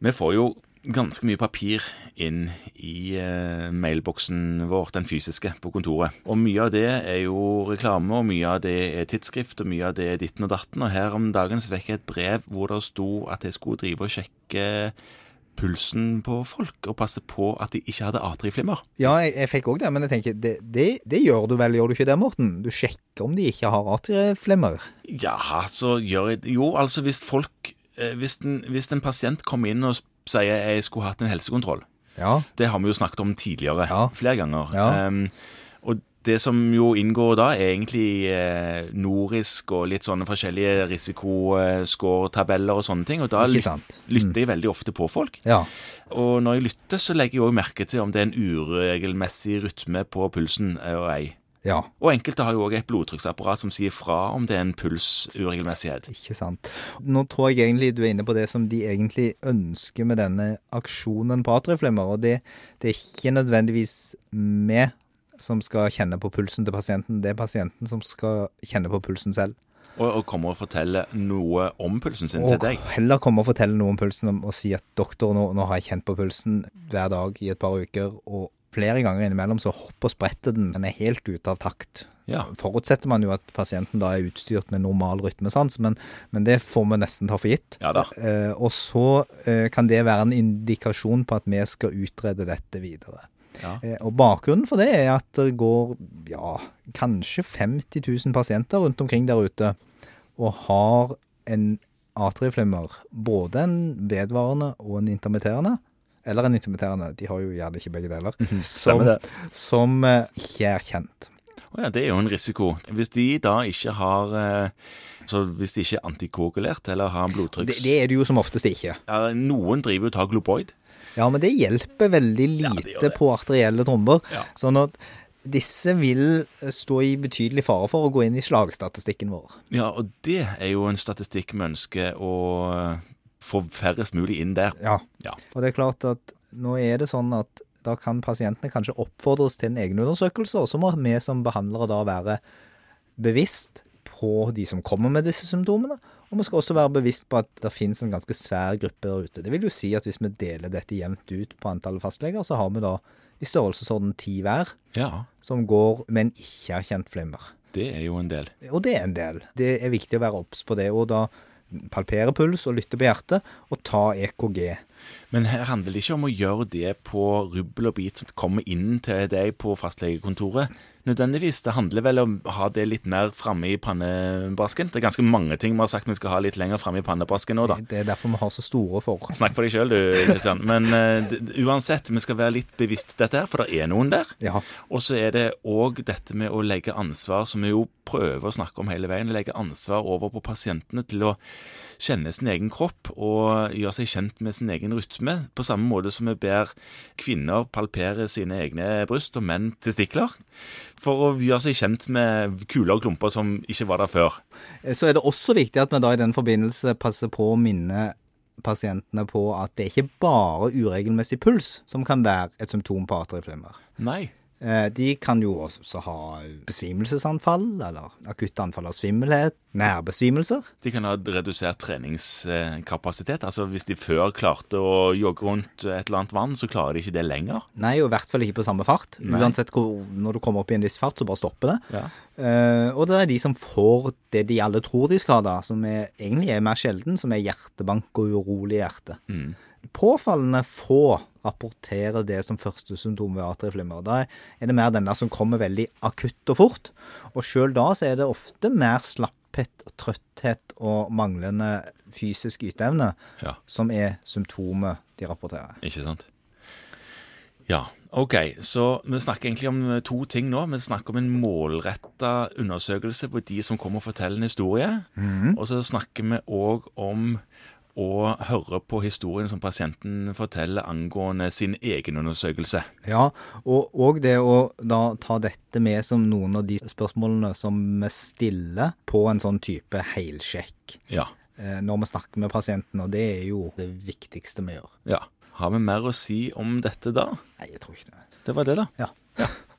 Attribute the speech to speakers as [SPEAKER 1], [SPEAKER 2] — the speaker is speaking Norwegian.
[SPEAKER 1] Vi får jo ganske mye papir inn i eh, mailboksen vår, den fysiske, på kontoret. Og mye av det er jo reklame, og mye av det er tidsskrift, og mye av det er ditten og datten. Og her om dagen så fikk jeg et brev hvor det sto at jeg skulle drive og sjekke pulsen på folk, og passe på at de ikke hadde atrieflimmer.
[SPEAKER 2] Ja, jeg, jeg fikk òg det, men jeg tenker, det, det, det gjør du vel, gjør du ikke det, Morten? Du sjekker om de ikke har atrieflemmer.
[SPEAKER 1] Ja, så gjør jeg Jo, altså hvis folk eh, Hvis en, hvis en pasient kommer inn og s- sier jeg skulle hatt en helsekontroll
[SPEAKER 2] Ja.
[SPEAKER 1] Det har vi jo snakket om tidligere
[SPEAKER 2] Ja.
[SPEAKER 1] flere ganger.
[SPEAKER 2] Ja.
[SPEAKER 1] Ehm, og det som jo inngår da, er egentlig eh, norisk og litt sånne forskjellige risikoscore-tabeller og sånne ting. Og da
[SPEAKER 2] Ikke
[SPEAKER 1] lyt-
[SPEAKER 2] sant. Mm.
[SPEAKER 1] lytter jeg veldig ofte på folk.
[SPEAKER 2] Ja.
[SPEAKER 1] Og når jeg lytter, så legger jeg jo merke til om det er en uregelmessig rytme på pulsen eh, og ei.
[SPEAKER 2] Ja.
[SPEAKER 1] Og enkelte har jo òg et blodtrykksapparat som sier fra om det er en pulsuregelmessighet.
[SPEAKER 2] Ikke sant. Nå tror jeg egentlig du er inne på det som de egentlig ønsker med denne aksjonen på atrieflemmer, og det, det er ikke nødvendigvis vi som skal kjenne på pulsen til pasienten, det er pasienten som skal kjenne på pulsen selv.
[SPEAKER 1] Og, og kommer og forteller noe om pulsen sin til
[SPEAKER 2] Og
[SPEAKER 1] deg.
[SPEAKER 2] heller komme og fortelle noe om pulsen om- og si at doktor, nå, nå har jeg kjent på pulsen hver dag i et par uker, og flere ganger innimellom så hopper og spretter den. Den er helt ute av takt.
[SPEAKER 1] Ja.
[SPEAKER 2] Forutsetter man jo at pasienten da er utstyrt med normal rytmesans, men, men det får vi nesten ta for gitt.
[SPEAKER 1] Ja da.
[SPEAKER 2] Eh, og så eh, kan det være en indikasjon på at vi skal utrede dette videre.
[SPEAKER 1] Ja.
[SPEAKER 2] Eh, Og bakgrunnen for det er at det går ja, kanskje 50 000 pasienter rundt omkring der ute og har en atrieflimmer, både en vedvarende og en intermitterende. Eller en intermitterende, de har jo gjerne ikke begge deler. Som,
[SPEAKER 1] Mhm, det.
[SPEAKER 2] som eh, ikke er kjent.
[SPEAKER 1] Å ja, det er jo en risiko. Hvis de da ikke har eh, Så hvis de ikke er antikoagulert eller har
[SPEAKER 2] Det,
[SPEAKER 1] blodtrykks...
[SPEAKER 2] det er det jo som oftest ikke.
[SPEAKER 1] ja, noen driver jo og tar globoid.
[SPEAKER 2] Ja, men det hjelper veldig
[SPEAKER 1] Ja, det
[SPEAKER 2] lite
[SPEAKER 1] gjør det.
[SPEAKER 2] på arterielle tromber.
[SPEAKER 1] Ja.
[SPEAKER 2] Sånn at disse vil eh, stå i betydelig fare for å gå inn i slagstatistikken vår.
[SPEAKER 1] Ja, og det er jo en statistikk vi ønsker å eh, få færrest mulig inn der.
[SPEAKER 2] Ja.
[SPEAKER 1] Ja.
[SPEAKER 2] Og det er klart at nå er det sånn at da kan pasientene kanskje oppfordres til en egenundersøkelse, og så må vi som behandlere da være bevisst på de som kommer med disse symptomene. Og vi skal også være bevisst på at det finnes en ganske svær gruppe der ute. Det vil jo si at hvis vi deler dette jevnt ut på antallet fastleger, så har vi da i størrelsesorden ti hver
[SPEAKER 1] Ja,
[SPEAKER 2] som går med en ikke-erkjent flimmer.
[SPEAKER 1] det er jo en del.
[SPEAKER 2] Og det er en del. Det er viktig å være obs på det. Og da palpere puls og lytte på hjertet, og ta E EKG.
[SPEAKER 1] Men her handler det ikke om å gjøre det på rubbel og bit som kommer inn til deg på fastlegekontoret. Nødvendigvis. Det handler vel om å ha det litt mer framme i pannebrasken. Det er ganske mange ting vi har sagt vi skal ha litt lenger framme i pannebrasken nå, da.
[SPEAKER 2] Det er derfor vi har så store for.
[SPEAKER 1] Snakk for deg sjøl, du, Kristian. Men eh, d- d- uansett, vi skal være litt bevisst dette her, for det er noen der.
[SPEAKER 2] Ja.
[SPEAKER 1] Og så er det òg dette med å legge ansvar, som vi jo prøver å snakke om hele veien. Legge ansvar over på pasientene til å kjenne sin egen kropp og gjøre seg kjent med sin egen rytme. På samme måte som vi ber kvinner palpere sine egne bryst og menn testikler. For å gjøre seg kjent med kuler og klumper som ikke var der før.
[SPEAKER 2] Så er det også viktig at vi da i den forbindelse passer på å minne pasientene på at det er ikke bare uregelmessig puls som kan være et symptom på atrieflimmer.
[SPEAKER 1] Nei.
[SPEAKER 2] Eh, De kan jo også ha besvimelsesanfall, eller akutte anfall av svimmelhet, nærbesvimelser.
[SPEAKER 1] De kan ha redusert treningskapasitet. Altså Hvis de før klarte å jogge rundt et eller annet vann, så klarer de ikke det lenger.
[SPEAKER 2] Nei, og i hvert fall ikke på samme fart.
[SPEAKER 1] Nei.
[SPEAKER 2] Uansett hvor, når du kommer opp i en viss fart, så bare stopper det.
[SPEAKER 1] Ja.
[SPEAKER 2] Eh, og det er de som får det de alle tror de skal ha, da, som er, egentlig er mer sjelden, som er hjertebank og urolig hjerte. Påfallende få rapporterer det som første symptom ved atrieflimmer. Da er det mer denne som kommer veldig akutt og fort. Og sjøl da så er det ofte mer slapphet og trøtthet og manglende fysisk yteevne
[SPEAKER 1] Ja.
[SPEAKER 2] som er symptomet de rapporterer.
[SPEAKER 1] Ikke sant? Ja. OK, så vi snakker egentlig om to ting nå. Vi snakker om en målretta undersøkelse på de som kommer og forteller en historie. Og så snakker vi òg om å høre på historien som pasienten forteller angående sin egen undersøkelse.
[SPEAKER 2] Ja, og, og det å da ta dette med som noen av de spørsmålene som vi stiller på en sånn type heilsjekk
[SPEAKER 1] Ja.
[SPEAKER 2] eh, når vi snakker med pasienten, og det er jo det viktigste vi gjør.
[SPEAKER 1] ja. Har vi mer å si om dette da?
[SPEAKER 2] Nei, jeg tror ikke det.
[SPEAKER 1] Det var det, da.
[SPEAKER 2] Ja.